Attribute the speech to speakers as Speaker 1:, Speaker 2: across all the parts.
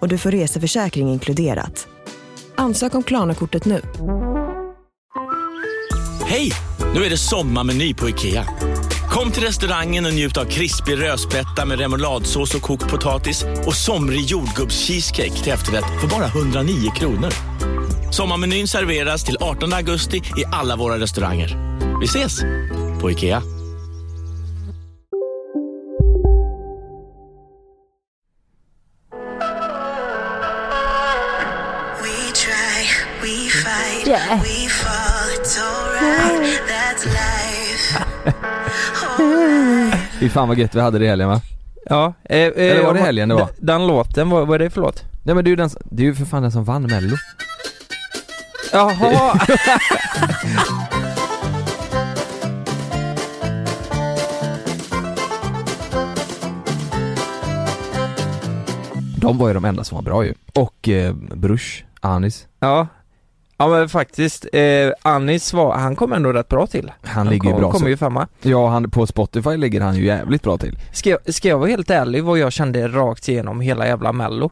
Speaker 1: och du får reseförsäkring inkluderat. Ansök om Klarna-kortet nu.
Speaker 2: Hej! Nu är det sommarmeny på IKEA. Kom till restaurangen och njut av krispig rödspätta med remouladsås och kokt potatis och somrig jordgubbscheesecake till efterrätt för bara 109 kronor. Sommarmenyn serveras till 18 augusti i alla våra restauranger. Vi ses! På IKEA.
Speaker 3: We try, we fight,
Speaker 4: Yeah.
Speaker 3: we fall. It's alright, that's life.
Speaker 5: Fy fan vad gött vi hade det i helgen va?
Speaker 6: Ja, eh, eh,
Speaker 5: Eller var det
Speaker 6: om-
Speaker 5: helgen det var?
Speaker 6: d- Den låten, vad, vad är det för låt?
Speaker 5: Nej men det är ju den, som- det är ju för fan den som vann mello.
Speaker 6: Jaha!
Speaker 5: De var ju de enda som var bra ju. Och eh, Brush, Anis.
Speaker 6: ja. ja men faktiskt, eh, Anis var, han kom ändå rätt bra till.
Speaker 5: Han ligger ju
Speaker 6: kom,
Speaker 5: bra
Speaker 6: kommer
Speaker 5: så.
Speaker 6: ju femma.
Speaker 5: Ja han, på Spotify ligger han ju jävligt bra till.
Speaker 6: Ska jag, ska jag vara helt ärlig vad jag kände rakt igenom hela jävla mello?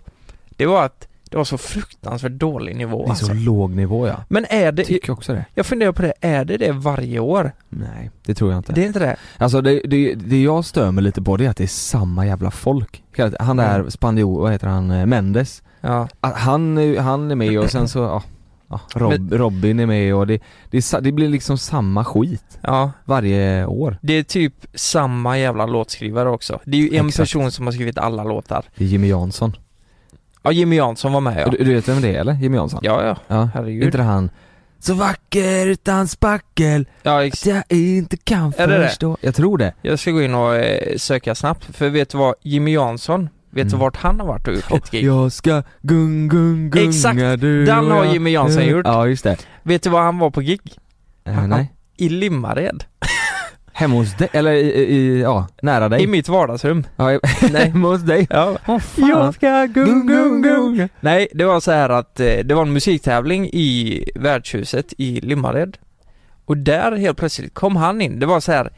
Speaker 6: Det var att det var så fruktansvärt dålig nivå
Speaker 5: Det är så
Speaker 6: alltså.
Speaker 5: låg nivå ja.
Speaker 6: Men är det,
Speaker 5: Tycker också det.
Speaker 6: jag funderar på det, är det det varje år?
Speaker 5: Nej, det tror jag inte.
Speaker 6: Det är inte det?
Speaker 5: Alltså det, det, det jag stör mig lite på det är att det är samma jävla folk. Han där
Speaker 6: Mm.
Speaker 5: spanjor, vad heter han, eh, Mendes.
Speaker 6: Ja.
Speaker 5: Ah, Han, är- han är med och sen så, ja. ja, Rob, Robin är med och det, det, är sa- det blir liksom samma skit
Speaker 6: Ja.
Speaker 5: varje år.
Speaker 6: Det är typ samma jävla låtskrivare också. Det är ju en
Speaker 5: Exakt.
Speaker 6: person som har skrivit alla låtar.
Speaker 5: Det är Jimmy Jansson.
Speaker 6: Ja, Jimmy Jansson var med ja.
Speaker 5: Du, du vet vem det är eller? Jimmy Jansson?
Speaker 6: Ja, ja.
Speaker 5: ja.
Speaker 6: Herregud.
Speaker 5: Inte det han Så vacker utan spackel
Speaker 6: Ja, ex-
Speaker 5: att jag inte kan
Speaker 6: Är det det?
Speaker 5: förstå Jag tror det.
Speaker 6: Jag ska gå in och eh, söka snabbt, för vet du vad, Jimmy Jansson, vet du
Speaker 5: Mm.
Speaker 6: vart han har varit och gjort ett gig?
Speaker 5: Jag ska gung gung gunga
Speaker 6: Exakt,
Speaker 5: du
Speaker 6: den
Speaker 5: och
Speaker 6: har
Speaker 5: jag. Eh,
Speaker 6: Jimmy Jansson gjort.
Speaker 5: Ja just det.
Speaker 6: Vet du var han var på gig?
Speaker 5: Eh, nej.
Speaker 6: I Limmared.
Speaker 5: Hemma hos dig, eller i, i, i ja, nära dig.
Speaker 6: I mitt vardagsrum.
Speaker 5: ja, i,
Speaker 6: Nej.
Speaker 5: hemma hos dig.
Speaker 6: Ja.
Speaker 5: Vad fan.
Speaker 6: Jag ska gung,
Speaker 5: Gung, gung,
Speaker 6: gung, gung.
Speaker 5: gung.
Speaker 6: Nej, det var så här att eh, det var en musiktävling i värdshuset i Limmared. Och där helt plötsligt kom han in. Det var så här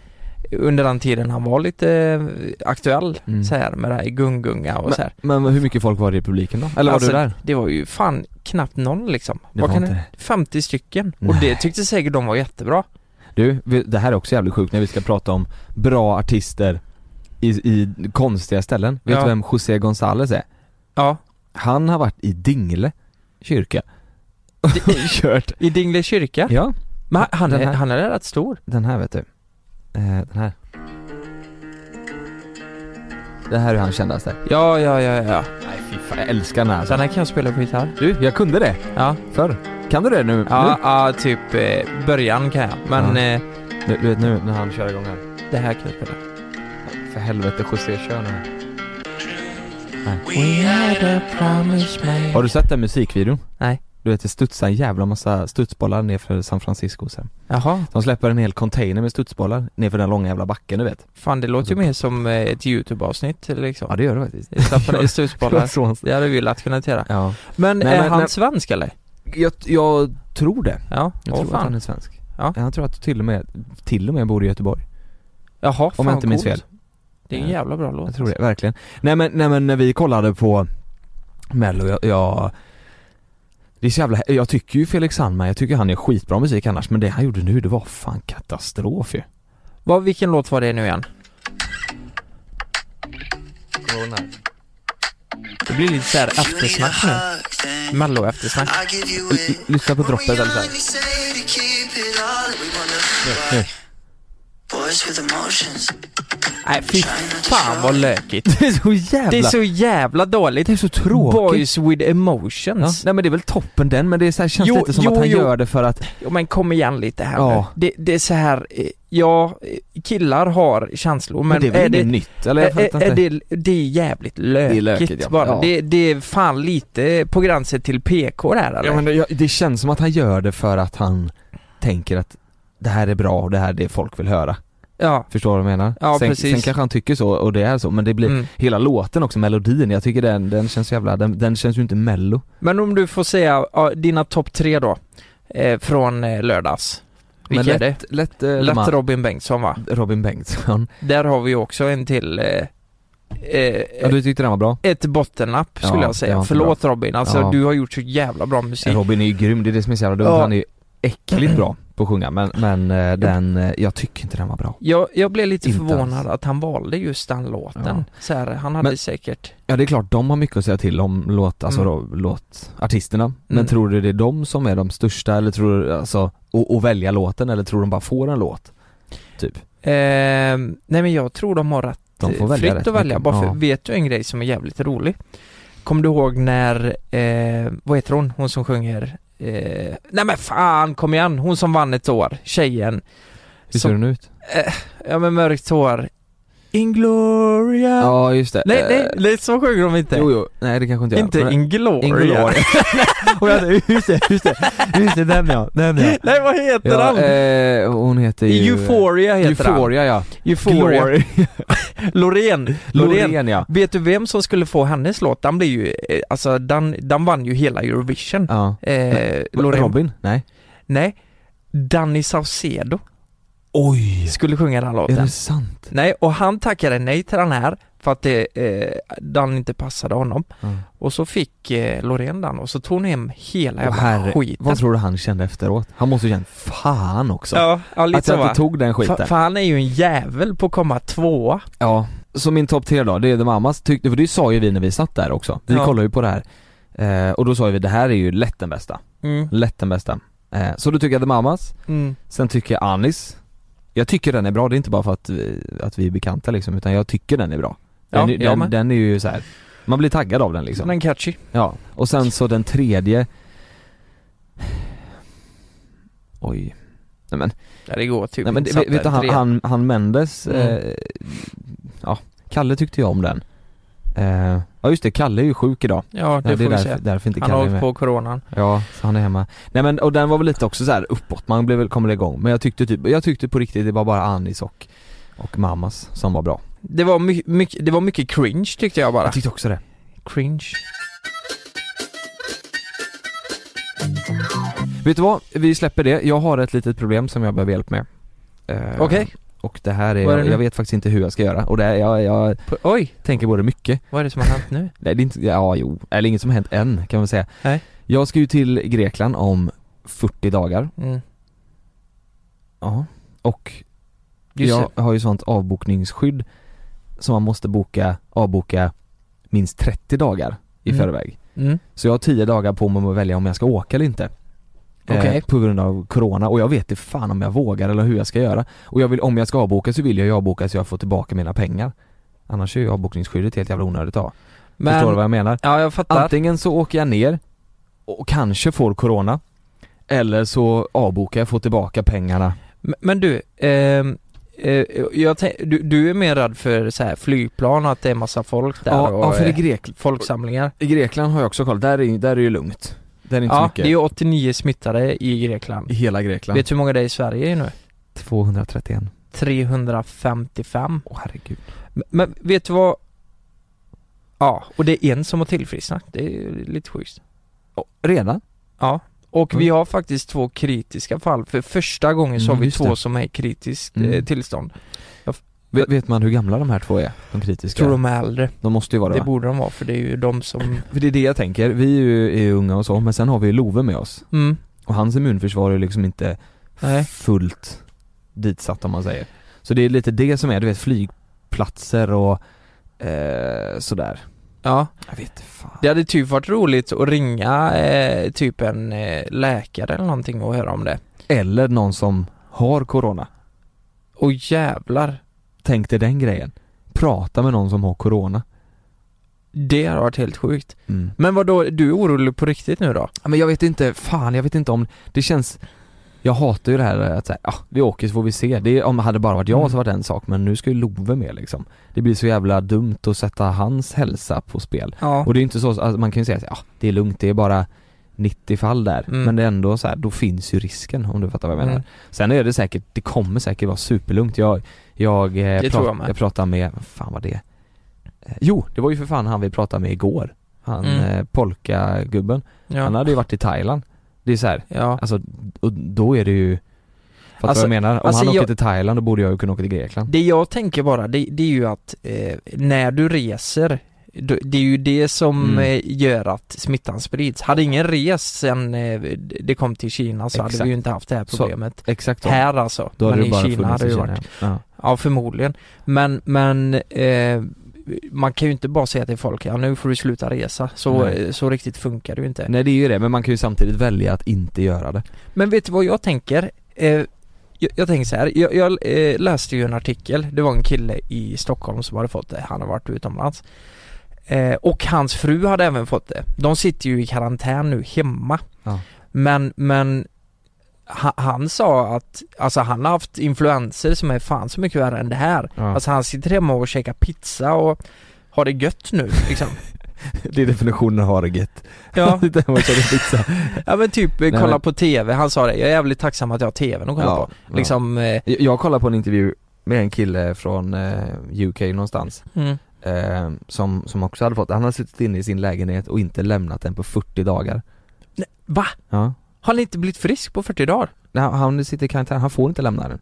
Speaker 6: under den tiden han var lite eh, aktuell
Speaker 5: Mm.
Speaker 6: så här med det här gungunga och så här.
Speaker 5: Men, men hur mycket folk var det i publiken då? Eller var
Speaker 6: Alltså,
Speaker 5: du där?
Speaker 6: Det var ju fan knappt någon liksom.
Speaker 5: Det
Speaker 6: Vad
Speaker 5: var
Speaker 6: kan
Speaker 5: inte
Speaker 6: det- 50 stycken. Och
Speaker 5: Nej.
Speaker 6: det tyckte säkert de var jättebra.
Speaker 5: Du, vi- det här är också jävligt sjukt när vi ska prata om bra artister i, i konstiga ställen. Vet
Speaker 6: Ja.
Speaker 5: du vem José González är?
Speaker 6: Ja.
Speaker 5: Han har varit i Dingle kyrka. Och kört.
Speaker 6: I Dingle kyrka.
Speaker 5: Ja,
Speaker 6: Men han- han,
Speaker 5: Den
Speaker 6: är,
Speaker 5: här.
Speaker 6: han är rätt stor.
Speaker 5: den här vet du. Eh, den här. Det här är han kändaste.
Speaker 6: Ja, ja, ja, ja.
Speaker 5: Nej fy fan, jag älskar den här.
Speaker 6: Den Alltså, här kan jag spela på gitarr.
Speaker 5: Du, jag kunde det
Speaker 6: Ja.
Speaker 5: förr. Kan du det nu?
Speaker 6: Ja, ja typ eh, början kan jag. Men
Speaker 5: Ja.
Speaker 6: eh,
Speaker 5: Nu, du vet nu när han kör igång här.
Speaker 6: det här kan jag spela.
Speaker 5: För helvete José, kör nu.
Speaker 3: We had a promise made.
Speaker 5: Har du sett den musikvideon?
Speaker 6: Nej.
Speaker 5: Du vet det studsar en jävla massa studsbollar ner för San Francisco sen.
Speaker 6: Jaha.
Speaker 5: De släpper en hel container med studsbollar ner för den långa jävla backen du vet.
Speaker 6: Fan, det låter ju mer som eh, ett YouTube-avsnitt liksom.
Speaker 5: det gör det faktiskt.
Speaker 6: Staffan i studsbollar. Det hade vi ju lätt kunnat göra.
Speaker 5: Ja.
Speaker 6: Men
Speaker 5: Nej,
Speaker 6: är
Speaker 5: men-
Speaker 6: han
Speaker 5: nej.
Speaker 6: svensk eller?
Speaker 5: Jag, jag tror det.
Speaker 6: Ja,
Speaker 5: Jag
Speaker 6: åh
Speaker 5: tror att han
Speaker 6: fan.
Speaker 5: är svensk.
Speaker 6: Ja.
Speaker 5: Jag tror att till och med, till och med bor i Göteborg.
Speaker 6: Jaha, fan
Speaker 5: Om jag inte minns
Speaker 6: coolt.
Speaker 5: fel.
Speaker 6: Det är en
Speaker 5: Ja.
Speaker 6: jävla bra låt.
Speaker 5: Jag tror det, verkligen. Nej men, nej men när vi kollade på Mello, jag, jag det är så jävla, jag tycker ju Felix Sandman, jag tycker han är skitbra musik annars men det han gjorde nu det var fan katastrof ju.
Speaker 6: Vad, vilken låt var det nu igen? Det blir lite såhär eftersnack nu. Mello-eftersnack.
Speaker 5: L- lyssna på droppet eller så här.
Speaker 3: Boys with emotions.
Speaker 6: Nej fy fan vad lökigt.
Speaker 5: Det är så jävla...
Speaker 6: Det är så jävla dåligt.
Speaker 5: det är så tråkigt.
Speaker 6: Boys with
Speaker 5: Ja.
Speaker 6: emotions.
Speaker 5: Nej men det är väl toppen den, men det är så här, känns
Speaker 6: Jo,
Speaker 5: lite som
Speaker 6: jo,
Speaker 5: att han
Speaker 6: jo.
Speaker 5: gör det för att...
Speaker 6: Ja, men kom igen lite här
Speaker 5: Ja.
Speaker 6: nu. Det, det är så här, eh, ja, eh, killar har känslor men,
Speaker 5: Men, det är väl
Speaker 6: är,
Speaker 5: inget
Speaker 6: det,
Speaker 5: nytt? Eller jag
Speaker 6: är,
Speaker 5: fattar
Speaker 6: är
Speaker 5: inte.
Speaker 6: det, det är jävligt lökigt,
Speaker 5: lökigt, ja.
Speaker 6: bara.
Speaker 5: Ja.
Speaker 6: Det, det är fan lite på gränsen till PK där eller?
Speaker 5: Ja, men det, jag- det känns som att han gör det för att han tänker att det här är bra och det här är det folk vill höra.
Speaker 6: ja.
Speaker 5: Förstår du vad jag menar?
Speaker 6: Ja,
Speaker 5: sen,
Speaker 6: precis.
Speaker 5: sen kanske han tycker så och det är så, men det blir
Speaker 6: Mm.
Speaker 5: hela låten också, melodin, jag tycker den, den känns jävla, den, den känns ju inte mello.
Speaker 6: Men om du får säga ja, dina topp tre då, eh, från eh, lördags.
Speaker 5: Men
Speaker 6: Vilka är det?
Speaker 5: lätt, lätt, eh, de
Speaker 6: Lätt
Speaker 5: här-
Speaker 6: Robin Bengtsson va?
Speaker 5: Robin Bengtsson.
Speaker 6: Där har vi också en till eh, eh,
Speaker 5: Ja, du tyckte den var bra?
Speaker 6: ett bottennapp skulle
Speaker 5: Ja,
Speaker 6: jag
Speaker 5: det var
Speaker 6: säga.
Speaker 5: inte
Speaker 6: Förlåt Robin, alltså
Speaker 5: Ja.
Speaker 6: du har gjort så jävla bra musik.
Speaker 5: Robin är ju grym, det är det som är så jävla dumt,
Speaker 6: Ja.
Speaker 5: han är ju äckligt bra på att sjunga men, men eh, den, eh, jag tycker inte den var bra.
Speaker 6: Jag, jag blev lite
Speaker 5: Inte
Speaker 6: förvånad
Speaker 5: alls.
Speaker 6: att han valde just den låten. Så här, han hade
Speaker 5: Men-
Speaker 6: säkert...
Speaker 5: Ja det är klart, de har mycket att säga till om låt, alltså
Speaker 6: Mm.
Speaker 5: då, låtartisterna. Men
Speaker 6: Mm.
Speaker 5: tror du det är de som är de största eller tror du, alltså, och, och välja låten eller tror de bara får en låt?
Speaker 6: ehm, nej men jag tror de har rätt
Speaker 5: De får
Speaker 6: eh,
Speaker 5: välja
Speaker 6: fritt
Speaker 5: rätt
Speaker 6: att välja.
Speaker 5: mycket.
Speaker 6: Bara för,
Speaker 5: ja.
Speaker 6: Vet du en grej som är jävligt rolig? Kommer du ihåg när, eh, vad heter hon, hon som sjunger? Eh, nej men fan, kom igen! Hon som vann ett år, tjejen.
Speaker 5: Hur ser
Speaker 6: som-
Speaker 5: den ut?
Speaker 6: Ja men mörkt hår. Ingloria.
Speaker 5: Ja just det.
Speaker 6: Nej,
Speaker 5: Eh,
Speaker 6: nej, nej, så sjunger de inte.
Speaker 5: Jo, jo. Nej det kanske inte jag
Speaker 6: inte
Speaker 5: men-
Speaker 6: Ingloria.
Speaker 5: Ingloria. Och jag- just det, just det, just det, den ja, den ja.
Speaker 6: nej vad heter
Speaker 5: ja
Speaker 6: han?
Speaker 5: eh, hon heter ju...
Speaker 6: Euphoria heter
Speaker 5: Euphoria ja.
Speaker 6: han. Euphoria.
Speaker 5: Glory.
Speaker 6: Loreen. Loreen.
Speaker 5: Loreen ja.
Speaker 6: Vet du vem som skulle få hennes låt? Den blev ju, eh, alltså den, den vann ju hela Eurovision.
Speaker 5: ja.
Speaker 6: Eh, Loreen.
Speaker 5: Robin? Nej.
Speaker 6: Nej. Danny Saucedo
Speaker 5: Oj!
Speaker 6: skulle sjunga den
Speaker 5: Är
Speaker 6: låten.
Speaker 5: det sant?
Speaker 6: Nej, och han tackade nej till den här för att det, eh, den inte passade honom.
Speaker 5: Mm.
Speaker 6: Och så fick eh, Loreen den och så tog hon hem hela
Speaker 5: Åh,
Speaker 6: jävla
Speaker 5: herre,
Speaker 6: skiten.
Speaker 5: Vad tror du han kände efteråt? Han måste ju känt fan också.
Speaker 6: ja, ja, lite
Speaker 5: att jag
Speaker 6: så va.
Speaker 5: inte tog den skiten.
Speaker 6: Fa- För han är ju en jävel på att komma tvåa.
Speaker 5: Ja. Så min topp tre då, det är The Mamas tyckte, för det sa ju vi när vi satt där också. Vi
Speaker 6: Ja.
Speaker 5: kollade ju på det här. Eh, och då sa vi det här är ju lätt den bästa.
Speaker 6: Mm.
Speaker 5: Lätt den bästa. Eh, så då tycker jag The Mamas,
Speaker 6: Mm.
Speaker 5: sen tycker jag Anis. Jag tycker den är bra, det är inte bara för att vi, att vi är bekanta liksom, utan jag tycker den är bra. Den,
Speaker 6: Ja, jag
Speaker 5: den,
Speaker 6: med.
Speaker 5: den är ju så här. man blir taggad av den liksom.
Speaker 6: Den är catchy.
Speaker 5: Ja, och sen så den tredje Oj Nej men,
Speaker 6: Ja, det går typ
Speaker 5: nej, men
Speaker 6: inte
Speaker 5: det- vet du han,
Speaker 6: satt där.
Speaker 5: han, han Mendes,
Speaker 6: Mm.
Speaker 5: eh, ja, Kalle tyckte jag om den eh, Ja just det, Kalle är ju sjuk idag
Speaker 6: Ja, det
Speaker 5: ja, Det
Speaker 6: får
Speaker 5: är
Speaker 6: vi se.
Speaker 5: därför, därför inte
Speaker 6: Han
Speaker 5: Kalle
Speaker 6: har
Speaker 5: är
Speaker 6: åkt
Speaker 5: med
Speaker 6: på coronan.
Speaker 5: Ja, så han är hemma Nej men och den var väl lite också så här uppåt, man blev väl, kommer igång Men jag tyckte typ, jag tyckte på riktigt det var bara Anis och, och Mammas som var bra
Speaker 6: Det var, my- mycket, det var mycket cringe tyckte jag bara.
Speaker 5: Jag tyckte också det
Speaker 6: Cringe.
Speaker 5: Vet du vad? Vi släpper det, jag har ett litet problem som jag behöver hjälp med eh,
Speaker 6: Okej.
Speaker 5: Och det här är,
Speaker 6: Vad är det
Speaker 5: jag,
Speaker 6: nu?
Speaker 5: jag vet faktiskt inte hur jag ska göra och det är, jag, jag
Speaker 6: P- Oj,
Speaker 5: tänker på det mycket
Speaker 6: vad är det som har hänt nu?
Speaker 5: Nej det är inte, ja jo, eller inget som har hänt än kan man säga
Speaker 6: Nej.
Speaker 5: Jag ska ju till Grekland om 40 dagar
Speaker 6: Mm.
Speaker 5: Ja Och
Speaker 6: Just
Speaker 5: jag har ju sånt avbokningsskydd som man måste boka, avboka minst 30 dagar i
Speaker 6: Mm.
Speaker 5: förväg
Speaker 6: det. Mm.
Speaker 5: Så jag har 10 dagar på mig att välja om jag ska åka eller inte Eh,
Speaker 6: Okej.
Speaker 5: På grund av Corona och jag vet inte fan om jag vågar eller hur jag ska göra Och jag vill, om jag ska avboka så vill jag ju avboka så jag får tillbaka mina pengar Annars är ju avbokningsskyddet helt jävla onödigt att ha.
Speaker 6: Men,
Speaker 5: Förstår du vad jag menar?
Speaker 6: Ja, jag fattar.
Speaker 5: Antingen så åker jag ner och kanske får Corona Eller så avbokar jag, får tillbaka pengarna
Speaker 6: M- Men du, ehm, eh, jag tänk, du, du är mer rädd för så här, flygplan och att det är massa folk där
Speaker 5: Ja,
Speaker 6: och
Speaker 5: ja för i,
Speaker 6: eh,
Speaker 5: Grek,
Speaker 6: folksamlingar.
Speaker 5: i Grekland har jag också kollat, där är, där är det ju lugnt Där är inte så
Speaker 6: Ja, det
Speaker 5: mycket
Speaker 6: är ju 89 smittade i Grekland.
Speaker 5: I hela Grekland
Speaker 6: Vet du hur många det är i Sverige nu?
Speaker 5: 231
Speaker 6: 355.
Speaker 5: Åh herregud
Speaker 6: Men, men vet du vad? Ja, och det är en som har tillfrisknat. Det är ju lite sjukt.
Speaker 5: Åh, Redan?
Speaker 6: Ja, och
Speaker 5: Mm.
Speaker 6: vi har faktiskt två kritiska fall. För första gången så har
Speaker 5: Mm,
Speaker 6: vi
Speaker 5: just
Speaker 6: två
Speaker 5: det.
Speaker 6: som är i kritiskt
Speaker 5: Mm.
Speaker 6: eh, tillstånd.
Speaker 5: Vet, vet man hur gamla de här två är? De kritiska?
Speaker 6: Tror de är äldre.
Speaker 5: de måste ju vara
Speaker 6: Det
Speaker 5: va?
Speaker 6: borde de vara för det är ju de som...
Speaker 5: För det är det jag tänker, vi är ju är ju unga och så, men sen har vi ju Love med oss
Speaker 6: Mm.
Speaker 5: Och hans immunförsvar är liksom inte
Speaker 6: Nej.
Speaker 5: fullt ditsatt om man säger Så det är lite det som är, du vet flygplatser och eh, sådär
Speaker 6: Ja,
Speaker 5: Jag vet inte fan
Speaker 6: det hade typ varit roligt att ringa eh, typ en eh, läkare eller någonting och höra om det.
Speaker 5: Eller någon som har corona
Speaker 6: Och jävlar.
Speaker 5: tänk dig den grejen. Prata med någon som har corona.
Speaker 6: Det har varit helt sjukt.
Speaker 5: Mm.
Speaker 6: Men vad då? du är orolig på riktigt nu då?
Speaker 5: Ja, Men jag vet inte, fan jag vet inte om, det känns jag hatar ju det här att säga, ja vi åker så får vi se. Det, är- om det hade bara varit jag
Speaker 6: Mm.
Speaker 5: så var det en sak men nu ska ju Love med liksom. Det blir så jävla dumt att sätta hans hälsa på spel.
Speaker 6: Ja.
Speaker 5: Och det är inte så, alltså, man kan ju säga att ja, det är lugnt, det är bara 90 fall där.
Speaker 6: Mm.
Speaker 5: Men det är ändå så här, då finns ju risken om du fattar vad jag menar.
Speaker 6: Mm.
Speaker 5: Sen är det säkert, det kommer säkert vara superlugnt. Jag, jag, eh,
Speaker 6: Det tror jag med.
Speaker 5: jag pratar med, vad fan var det? Eh, Jo, det var ju för fan han vi pratade med igår. Han
Speaker 6: Mm.
Speaker 5: eh, polkagubben.
Speaker 6: Ja.
Speaker 5: Han hade ju varit i Thailand. Det är så här,
Speaker 6: ja.
Speaker 5: alltså, och då är det ju Fattar du
Speaker 6: Alltså-
Speaker 5: vad jag menar? Om
Speaker 6: alltså
Speaker 5: han åker
Speaker 6: jag-
Speaker 5: till Thailand då borde jag ju kunna åka till Grekland.
Speaker 6: Det jag tänker bara, det, det är ju att eh, när du reser, då- det är ju det som
Speaker 5: Mm.
Speaker 6: eh, gör att smittan sprids. Hade ingen rest sen eh, det kom till Kina så hade
Speaker 5: Exakt.
Speaker 6: vi ju inte haft det här
Speaker 5: Så,
Speaker 6: problemet.
Speaker 5: Exakt så.
Speaker 6: här alltså,
Speaker 5: Då hade
Speaker 6: men
Speaker 5: det bara
Speaker 6: i Kina
Speaker 5: funnits
Speaker 6: hade
Speaker 5: i
Speaker 6: det
Speaker 5: Kina,
Speaker 6: varit
Speaker 5: ja.
Speaker 6: Ja, förmodligen. Men, men eh, man kan ju inte bara säga till folk ja nu får du sluta resa. Så,
Speaker 5: Nej.
Speaker 6: så riktigt funkar det ju inte.
Speaker 5: Ja. Nej det är ju det, men man kan ju samtidigt välja att inte göra det.
Speaker 6: Men vet du vad jag tänker? Eh, jag, jag tänker så här. jag, jag eh, läste ju en artikel, det var en kille i Stockholm som hade fått det, han har varit utomlands. Eh, och hans fru hade även fått det. De sitter ju i karantän nu hemma.
Speaker 5: Ja.
Speaker 6: Men, men ha, han sa att, alltså han har haft influenser som är fan så mycket värre än det här.
Speaker 5: Ja.
Speaker 6: Alltså han sitter hemma och käkar pizza och har det gött nu liksom.
Speaker 5: det är definitionen av har det gött.
Speaker 6: Ja,
Speaker 5: Sitta hemma och käka pizza.
Speaker 6: ja men typ
Speaker 5: Nej,
Speaker 6: eh, kolla
Speaker 5: men-
Speaker 6: på TV, han sa det, jag är jävligt tacksam att jag har TVn att kolla
Speaker 5: Ja,
Speaker 6: på. Liksom, eh,
Speaker 5: Jag jag kollade på en intervju med en kille från eh, UK någonstans
Speaker 6: mm.
Speaker 5: eh, som, som också hade fått, han hade suttit inne i sin lägenhet och inte lämnat den på 40 dagar.
Speaker 6: Va?
Speaker 5: Ja.
Speaker 6: Har ni inte blivit frisk på 40 dagar?
Speaker 5: Nej, han- han sitter i karantän, han får inte lämna den.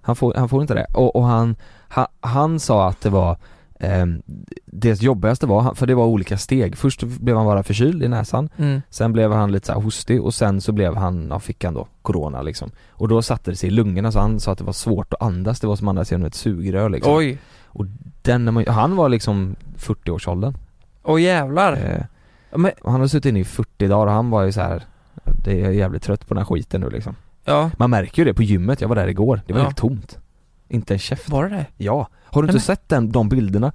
Speaker 5: Han får, han får inte det. Och, och han, han, han sa att det var ehm, det jobbigaste var, för det var olika steg. Först blev han bara förkyld i näsan,
Speaker 6: Mm.
Speaker 5: sen blev han lite så här hostig och sen så blev han, ja, fick han då corona liksom. Och då satte det sig i lungorna så han sa att det var svårt att andas, det var som att andas genom ett sugrör liksom.
Speaker 6: Oj,
Speaker 5: Den, när man- han var liksom 40-årsåldern.
Speaker 6: åh jävlar.
Speaker 5: Eh,
Speaker 6: Ja, Men,
Speaker 5: och han har suttit inne i 40 dagar och han var ju så här. Det är jag jävligt trött på den här skiten nu liksom.
Speaker 6: ja,
Speaker 5: Man märker ju det på gymmet, jag var där igår, det var
Speaker 6: Ja.
Speaker 5: helt tomt. Inte en käft.
Speaker 6: var det det?
Speaker 5: Ja, har du
Speaker 6: Nej,
Speaker 5: inte
Speaker 6: men-
Speaker 5: sett den, de bilderna?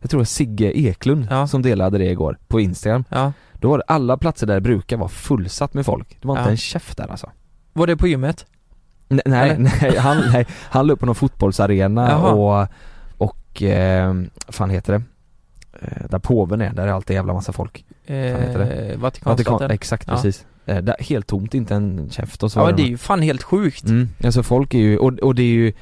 Speaker 5: Jag tror det var Sigge Eklund
Speaker 6: Ja.
Speaker 5: som delade det igår på Instagram.
Speaker 6: Ja.
Speaker 5: Då var det alla platser där det brukar vara fullsatt med folk. Det var inte
Speaker 6: Ja.
Speaker 5: en käft där alltså.
Speaker 6: Var det på gymmet?
Speaker 5: Nej, nej, nej, han, nej han la upp på någon fotbollsarena
Speaker 6: Jaha.
Speaker 5: och, och eh, vad fan heter det? Eh, Där påven är, där är alltid en jävla massa folk. Fan heter
Speaker 6: Eh,
Speaker 5: Vatikan,
Speaker 6: Vatikanstaten?
Speaker 5: exakt,
Speaker 6: Ja.
Speaker 5: precis. Eh, Där, helt tomt, inte en käft och så var
Speaker 6: Ja
Speaker 5: det
Speaker 6: det är
Speaker 5: någon-
Speaker 6: ju fan helt sjukt.
Speaker 5: Mm, alltså folk är ju, och, och det är ju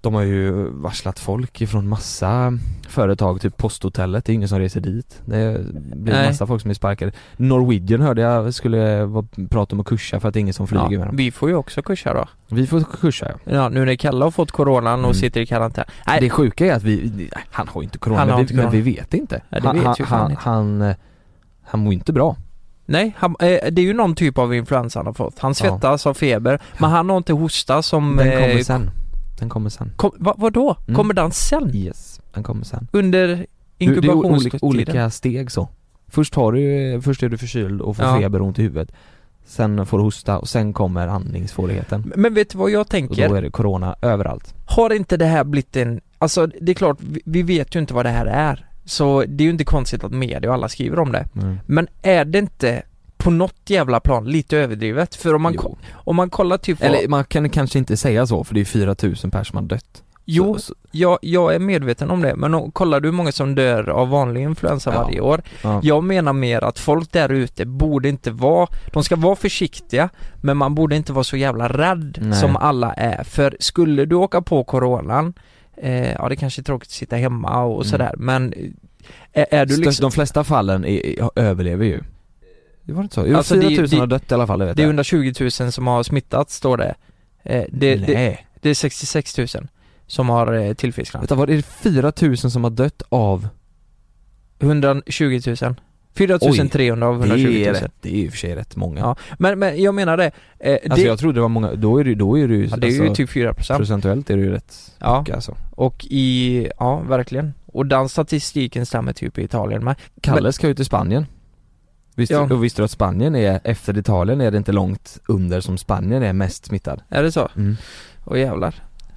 Speaker 5: De har ju varslat folk ifrån massa företag, typ posthotellet, det är ingen som reser dit Det blir
Speaker 6: Nej.
Speaker 5: massa folk som är sparkade Norwegian hörde jag skulle vara- prata om att kursa för att det är ingen som flyger med
Speaker 6: Ja,
Speaker 5: dem
Speaker 6: vi får ju också kursa då.
Speaker 5: Vi får kursa ja
Speaker 6: Ja, nu när Kalle har fått coronan och
Speaker 5: Mm.
Speaker 6: sitter i karantän. Nej,
Speaker 5: Det sjuka är att vi, nej, han har ju inte corona,
Speaker 6: Han har
Speaker 5: men,
Speaker 6: inte
Speaker 5: vi, men
Speaker 6: corona.
Speaker 5: vi vet inte
Speaker 6: Ja, det vet
Speaker 5: han,
Speaker 6: ju fan
Speaker 5: han,
Speaker 6: inte.
Speaker 5: han, han, han mår ju inte bra
Speaker 6: Nej, han, eh, det är ju någon typ av influensa han har fått. Han svettas, har feber, men han har inte hosta som...
Speaker 5: Den kommer
Speaker 6: eh,
Speaker 5: sen Den kommer sen
Speaker 6: Kom, va, vadå?
Speaker 5: Mm.
Speaker 6: Kommer den sen?
Speaker 5: Yes, den kommer sen
Speaker 6: Under
Speaker 5: Du- Det är o-
Speaker 6: inkubationstiden?
Speaker 5: olika, olika steg så. Först, har du, först är du förkyld och får
Speaker 6: Ja.
Speaker 5: feber och ont i huvudet. Sen får du hosta och sen kommer andningssvårigheten.
Speaker 6: Men vet du vad jag
Speaker 5: Och då
Speaker 6: tänker?
Speaker 5: är det corona överallt.
Speaker 6: Har inte det här blivit en... Alltså det är klart, vi, vi vet ju inte vad det här är. Så det är ju inte konstigt att media och alla skriver om det. Men är det inte på något jävla plan lite överdrivet? För om man,
Speaker 5: Jo.
Speaker 6: ko- om man kollar typ vad-
Speaker 5: Eller man kan kanske inte säga så för det är 4000 personer som har dött.
Speaker 6: Jo,
Speaker 5: Så, så,
Speaker 6: jag, jag är medveten om det. Men om, kollar du hur många som dör av vanlig influensa
Speaker 5: Ja.
Speaker 6: varje år?
Speaker 5: ja.
Speaker 6: Jag menar mer att folk där ute borde inte vara, de ska vara försiktiga men man borde inte vara så jävla rädd
Speaker 5: Nej.
Speaker 6: som alla är. För skulle du åka på coronan, eh, ja det kanske är tråkigt att sitta hemma och
Speaker 5: Mm.
Speaker 6: sådär men eh, är, är du
Speaker 5: Störst-
Speaker 6: liksom,
Speaker 5: De flesta fallen är, är, överlever ju. Det var inte så? Jo,
Speaker 6: Alltså, det är ju-
Speaker 5: 4000
Speaker 6: det-
Speaker 5: har dött i alla fall, det vet
Speaker 6: det är
Speaker 5: jag.
Speaker 6: 120 000 som har smittats står det. Eh, det, det,
Speaker 5: Nej,
Speaker 6: det är 66 000 som har eh, tillfrisknat.
Speaker 5: vänta, var det 4000 som har dött av?
Speaker 6: 120 000. 4 300 av 120 000.
Speaker 5: rätt, det är ju i och för sig rätt många.
Speaker 6: Ja, Men, men jag menar det, eh, det,
Speaker 5: alltså jag trodde det var många, då är det, då är det ju,
Speaker 6: ja, det är ju
Speaker 5: alltså,
Speaker 6: typ 4%.
Speaker 5: procentuellt är det ju rätt
Speaker 6: Ja.
Speaker 5: mycket alltså.
Speaker 6: Och i, ja verkligen. Och den statistiken stämmer typ i Italien med.
Speaker 5: Kalle
Speaker 6: Men-
Speaker 5: ska ju till Spanien visste,
Speaker 6: Ja.
Speaker 5: Och visste du att Spanien är, efter Italien är det inte långt under som Spanien är mest smittad?
Speaker 6: Är det så?
Speaker 5: Mm.
Speaker 6: Åh jävlar.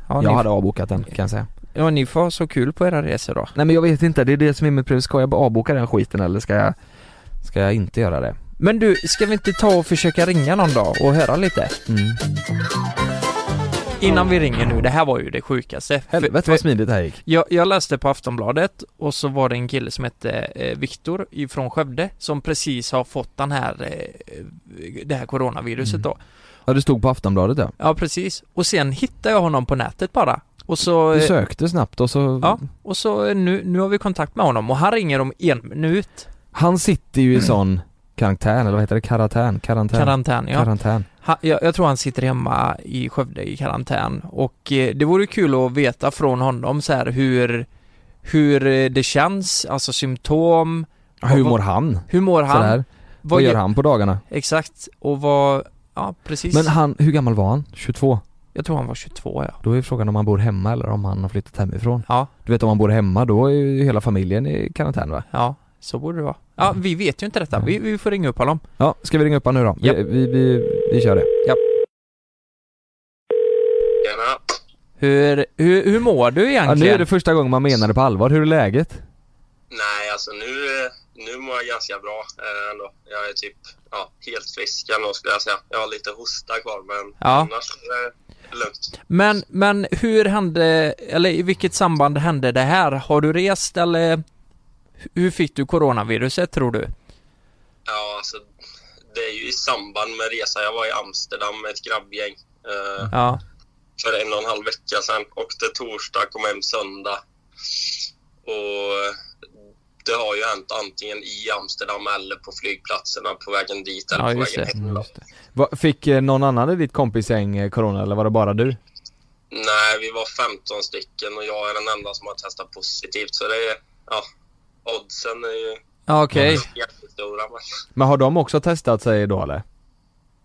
Speaker 6: Ja,
Speaker 5: jag
Speaker 6: ni,
Speaker 5: hade avbokat den kan jag säga
Speaker 6: Ja, ni får ha så kul på era resor då.
Speaker 5: Nej men jag vet inte, det är det som är mitt problem. Ska jag bara avboka den skiten eller ska jag, ska jag inte göra det?
Speaker 6: Men du, ska vi inte ta och försöka ringa någon dag och höra lite?
Speaker 5: Mm.
Speaker 6: Innan vi ringer nu, det här var ju det sjukaste.
Speaker 5: Helvete vad smidigt det här gick.
Speaker 6: Jag, jag läste på Aftonbladet och så var det en kille som hette eh, Viktor ifrån Skövde som precis har fått den här, eh, det här coronaviruset
Speaker 5: Mm.
Speaker 6: då.
Speaker 5: Ja det stod på Aftonbladet ja.
Speaker 6: Ja, precis. Och sen hittade jag honom på nätet bara. Och så,
Speaker 5: Du
Speaker 6: eh,
Speaker 5: sökte snabbt och så...
Speaker 6: ja, och så eh, nu, nu har vi kontakt med honom och han ringer om en minut.
Speaker 5: Han sitter ju i sån karantän, eller vad heter det? Karantän? Karantän?
Speaker 6: Karantän, ja.
Speaker 5: Karantän.
Speaker 6: Han, jag, jag tror han sitter hemma i Skövde i karantän och eh, det vore kul att veta från honom så här hur, hur eh, det känns, alltså symptom,
Speaker 5: Hur mår han?
Speaker 6: hur mår han?
Speaker 5: Sådär. Vad gör han på dagarna?
Speaker 6: Exakt, och vad, ja precis.
Speaker 5: Men han, hur gammal var han? 22?
Speaker 6: jag tror han var 22 ja.
Speaker 5: Då är frågan om han bor hemma eller om han har flyttat hemifrån.
Speaker 6: Ja,
Speaker 5: Du vet om han bor hemma då är ju hela familjen i karantän va?
Speaker 6: ja, så borde det vara. Ja, vi vet ju inte detta. Vi, vi får ringa upp honom.
Speaker 5: Ja, ska vi ringa upp honom nu då? Vi,
Speaker 6: Japp.
Speaker 5: vi, vi, vi kör det.
Speaker 4: Tjena.
Speaker 6: Hur, hur, hur mår du
Speaker 5: Ja,
Speaker 6: egentligen?
Speaker 5: nu är det första gången man menar det på allvar. Hur är läget?
Speaker 4: Nej, alltså nu, eh, nu mår jag ganska bra eh, ändå. Jag är typ ja, helt frisk ändå skulle jag säga. Jag har lite hosta kvar men
Speaker 6: Ja.
Speaker 4: annars är det lugnt.
Speaker 6: Men, men hur hände, eller i vilket samband hände det här? Har du rest eller hur fick du coronaviruset tror du?
Speaker 4: Ja, alltså, det är ju i samband med resa. Jag var i Amsterdam med ett grabbgäng eh,
Speaker 6: Ja,
Speaker 4: för en och en halv vecka sedan. Åkte torsdag, kom hem söndag. Och eh, det har ju hänt antingen i Amsterdam eller på flygplatserna på vägen dit eller
Speaker 6: Ja,
Speaker 4: på
Speaker 6: just
Speaker 4: vägen
Speaker 6: det.
Speaker 4: hem. då.
Speaker 5: Va, fick eh, någon annan i ditt kompisgäng eh, corona eller var det bara du?
Speaker 4: Nej, vi var 15 stycken och jag är den enda som har testat positivt. Så det är, ja, oddsen är ju
Speaker 6: ja okej.
Speaker 4: jättestora. Men,
Speaker 5: Men har de också testat sig då eller?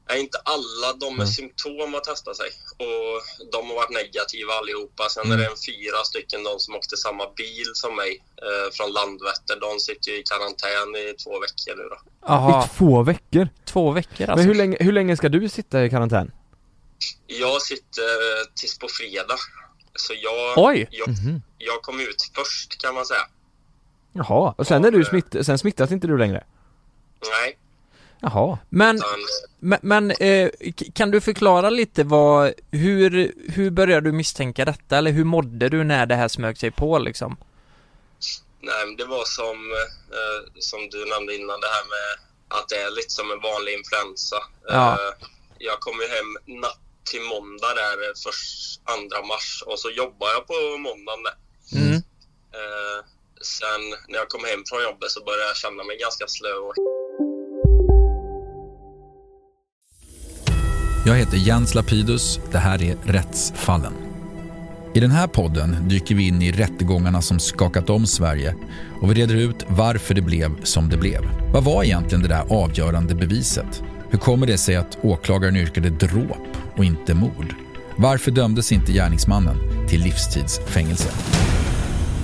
Speaker 4: nej, inte alla de
Speaker 6: Mm.
Speaker 4: med symptom har testat sig och de har varit negativa allihopa. Sen
Speaker 6: Mm.
Speaker 4: är det en fyra stycken de som åkte samma bil som mig eh, från Landvetter. De sitter ju i karantän i två veckor nu då.
Speaker 6: Jaha,
Speaker 5: I två veckor?
Speaker 6: två veckor alltså.
Speaker 5: Men hur länge, hur länge ska du sitta i karantän?
Speaker 4: Jag sitter eh, tills på fredag. Så jag,
Speaker 6: Oj! Mhm.
Speaker 4: jag, jag kom ut först kan man säga.
Speaker 5: Jaha, och sen är du smitt, sen smittas inte du längre?
Speaker 4: Nej,
Speaker 5: Jaha.
Speaker 6: Men,
Speaker 4: utan
Speaker 6: men, men eh, k- kan du förklara lite vad, hur, hur började du misstänka detta? Eller hur mådde du när det här smög sig på liksom?
Speaker 4: Nej, men det var som, eh, som du nämnde innan, det här med att det är lite som en vanlig influensa.
Speaker 6: Ja.
Speaker 4: Eh, jag kom ju hem natt till måndag där, eh, först, andra mars, och så jobbade jag på måndagen där.
Speaker 6: Mm.
Speaker 4: Eh, sen när jag kom hem från jobbet så började jag känna mig ganska slö och
Speaker 7: Jag heter Jens Lapidus. Det här är Rättsfallen. I den här podden dyker vi in i rättegångarna som skakat om Sverige och vi reder ut varför det blev som det blev. Vad var egentligen det där avgörande beviset? Hur kommer det sig att åklagaren yrkade dråp och inte mord? Varför dömdes inte gärningsmannen till livstidsfängelse?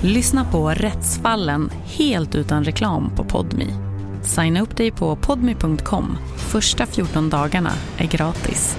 Speaker 8: Lyssna på Rättsfallen helt utan reklam på Podmi. Signa upp dig på podmi.com. Första 14 dagarna är gratis.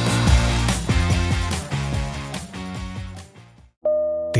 Speaker 9: Det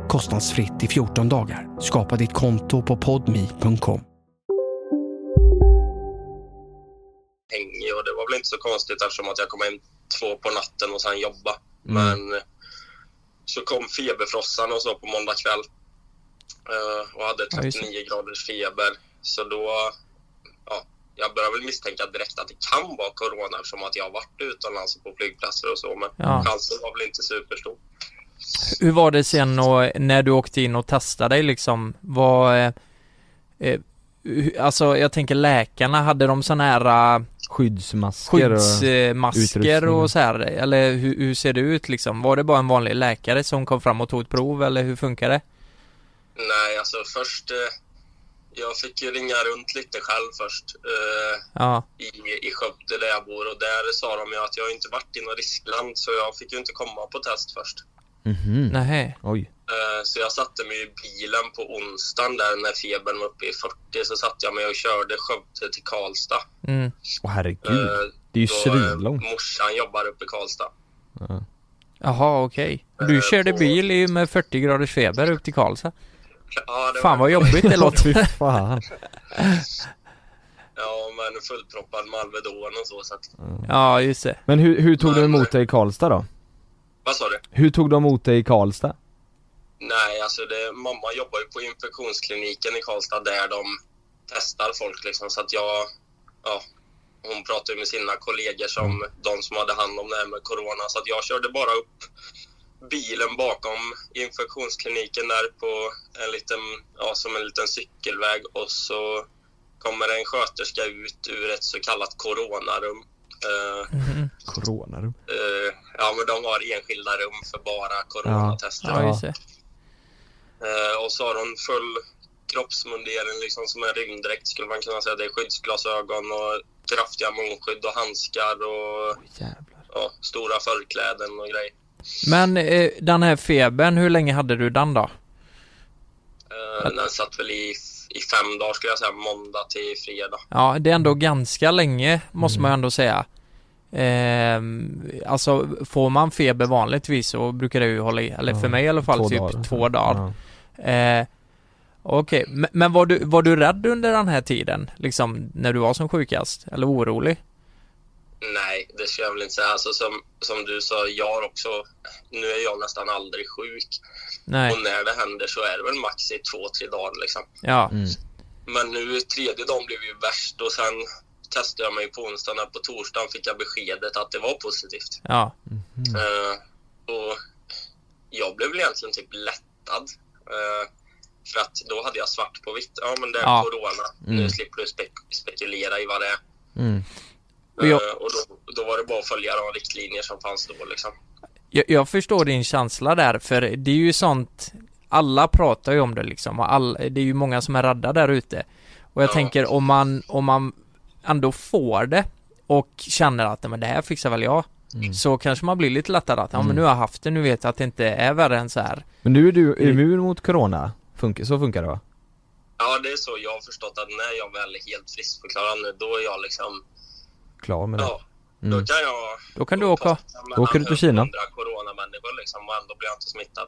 Speaker 9: kostnadsfritt i 14 dagar. Skapa ditt konto på podmi.com.
Speaker 4: hängig och det var väl inte så konstigt eftersom att jag kom hem två på natten och sen
Speaker 6: Mm.
Speaker 4: jobba. Men så kom feberfrossan och så på måndag kväll. eh, och hade
Speaker 6: Ja, just det.
Speaker 4: 39 graders feber. Så då, ja, jag började väl misstänka direkt att det kan vara corona eftersom att jag har varit utomlands och på flygplatser och så. Men
Speaker 6: Ja.
Speaker 4: chansen var väl inte superstor.
Speaker 6: Hur var det sen och när du åkte in och testade dig liksom? Var, eh, eh, hu- alltså jag tänker läkarna, hade de sådana här eh,
Speaker 5: Skyddsmasker och
Speaker 6: skyddsmasker
Speaker 5: utrustning.
Speaker 6: och, så här? Eller hur, hur ser det ut liksom? Var det bara en vanlig läkare som kom fram och tog ett prov eller hur funkar det?
Speaker 4: Nej, alltså först... Eh, jag fick ju ringa runt lite själv först eh,
Speaker 5: Mm.
Speaker 6: Ja.
Speaker 4: i, i Skövde där jag bor och där sa de ju att jag inte varit i något riskland så jag fick ju inte komma på test först.
Speaker 5: Mhm.
Speaker 6: Nej.
Speaker 5: Oj.
Speaker 4: Eh, Så jag satte mig i bilen på onsdagen där när febern var uppe i 40 så satte jag mig och körde Skövde till Karlstad.
Speaker 5: Mm. Åh herregud.
Speaker 4: Eh,
Speaker 5: det är ju
Speaker 4: då, eh,
Speaker 5: svinlångt.
Speaker 4: Morsan jobbar uppe i Karlstad.
Speaker 6: Jaha, okej. Du körde bil i- med 40 graders feber upp till Karlstad.
Speaker 4: Ja, det
Speaker 6: Fan
Speaker 4: var-
Speaker 6: vad jobbigt det låter.
Speaker 5: fan.
Speaker 4: Ja, men fullproppad med Alvedon och så. så att,
Speaker 6: Ja, just det.
Speaker 5: Men hur, hur tog de emot dig i Karlstad då?
Speaker 4: Vad sa du?
Speaker 5: Hur tog de emot dig i Karlstad?
Speaker 4: Nej, alltså det, mamma jobbar ju på infektionskliniken i Karlstad där de testar folk liksom. Så att jag, ja, hon pratade ju med sina kollegor som de som hade hand om det här med corona. Så att jag körde bara upp bilen bakom infektionskliniken där på en liten, ja, som en liten cykelväg och så kommer en sköterska ut ur ett så kallat coronarum. Eh,
Speaker 5: Coronarum.
Speaker 4: eh, ja, men de har enskilda rum för bara coronatester.
Speaker 6: Ja, just det.
Speaker 4: Eh, och så har hon full kroppsmundering, liksom som en rymddräkt skulle man kunna säga. Det är skyddsglasögon och kraftiga munskydd och handskar och ja, stora förkläden och grejer.
Speaker 6: Men eh, den här febern, hur länge hade du den då?
Speaker 4: Eh, Den satt väl i, i fem dagar skulle jag säga, måndag till fredag.
Speaker 6: Ja, det är ändå ganska länge måste
Speaker 5: Mm.
Speaker 6: man ändå säga. Ehm, alltså får man feber vanligtvis så brukar det ju hålla i, eller för
Speaker 5: Ja,
Speaker 6: mig i alla fall,
Speaker 5: två
Speaker 6: typ
Speaker 5: dagar.
Speaker 6: två dagar. Eh, Okej, men, men var, du, var du rädd under den här tiden? Liksom när du var som sjukast? Eller orolig?
Speaker 4: Nej, det ska jag väl inte säga. Alltså, som, som du sa, jag har också... Nu är jag nästan aldrig sjuk.
Speaker 6: Nej.
Speaker 4: Och när det händer så är det väl max i två, tre dagar liksom.
Speaker 6: Ja.
Speaker 5: Mm.
Speaker 4: Men nu tredje dagen blev ju värst och sen testade jag mig på onsdagen. På torsdagen fick jag beskedet att det var positivt.
Speaker 6: Ja. Mm.
Speaker 4: Eh, och jag blev väl egentligen typ lättad. Eh, för att då hade jag svart på vitt. Ja, men det är
Speaker 6: Ja.
Speaker 4: corona. Nu
Speaker 6: Mm.
Speaker 4: slipper du spek- spekulera i vad det är.
Speaker 5: Mm.
Speaker 6: Och jag-
Speaker 4: Eh, och då, då var det bara att följa de riktlinjer som fanns då liksom.
Speaker 6: Jag, jag förstår din känsla där, för det är ju sånt Alla pratar ju om det liksom, och all, det är ju många som är rädda där ute Och jag tänker om man, om man ändå får det och känner att "Nej, men det här fixar väl jag Så kanske man blir lite lättad att, ja men
Speaker 5: Mm.
Speaker 6: nu har jag haft det, nu vet jag att det inte är värre än så här
Speaker 5: Men nu är du
Speaker 6: Mm.
Speaker 5: immun mot corona? Funkar, så funkar det va?
Speaker 4: Ja, det är så jag har förstått att när jag väl är helt friskförklarad nu, då är jag liksom...
Speaker 5: Klar med det?
Speaker 4: Ja.
Speaker 5: Mm.
Speaker 4: Då kan jag...
Speaker 6: Då kan du åka
Speaker 5: Då åker du till Kina.
Speaker 4: Andra coronamänniskor liksom, och ändå blir jag inte smittad.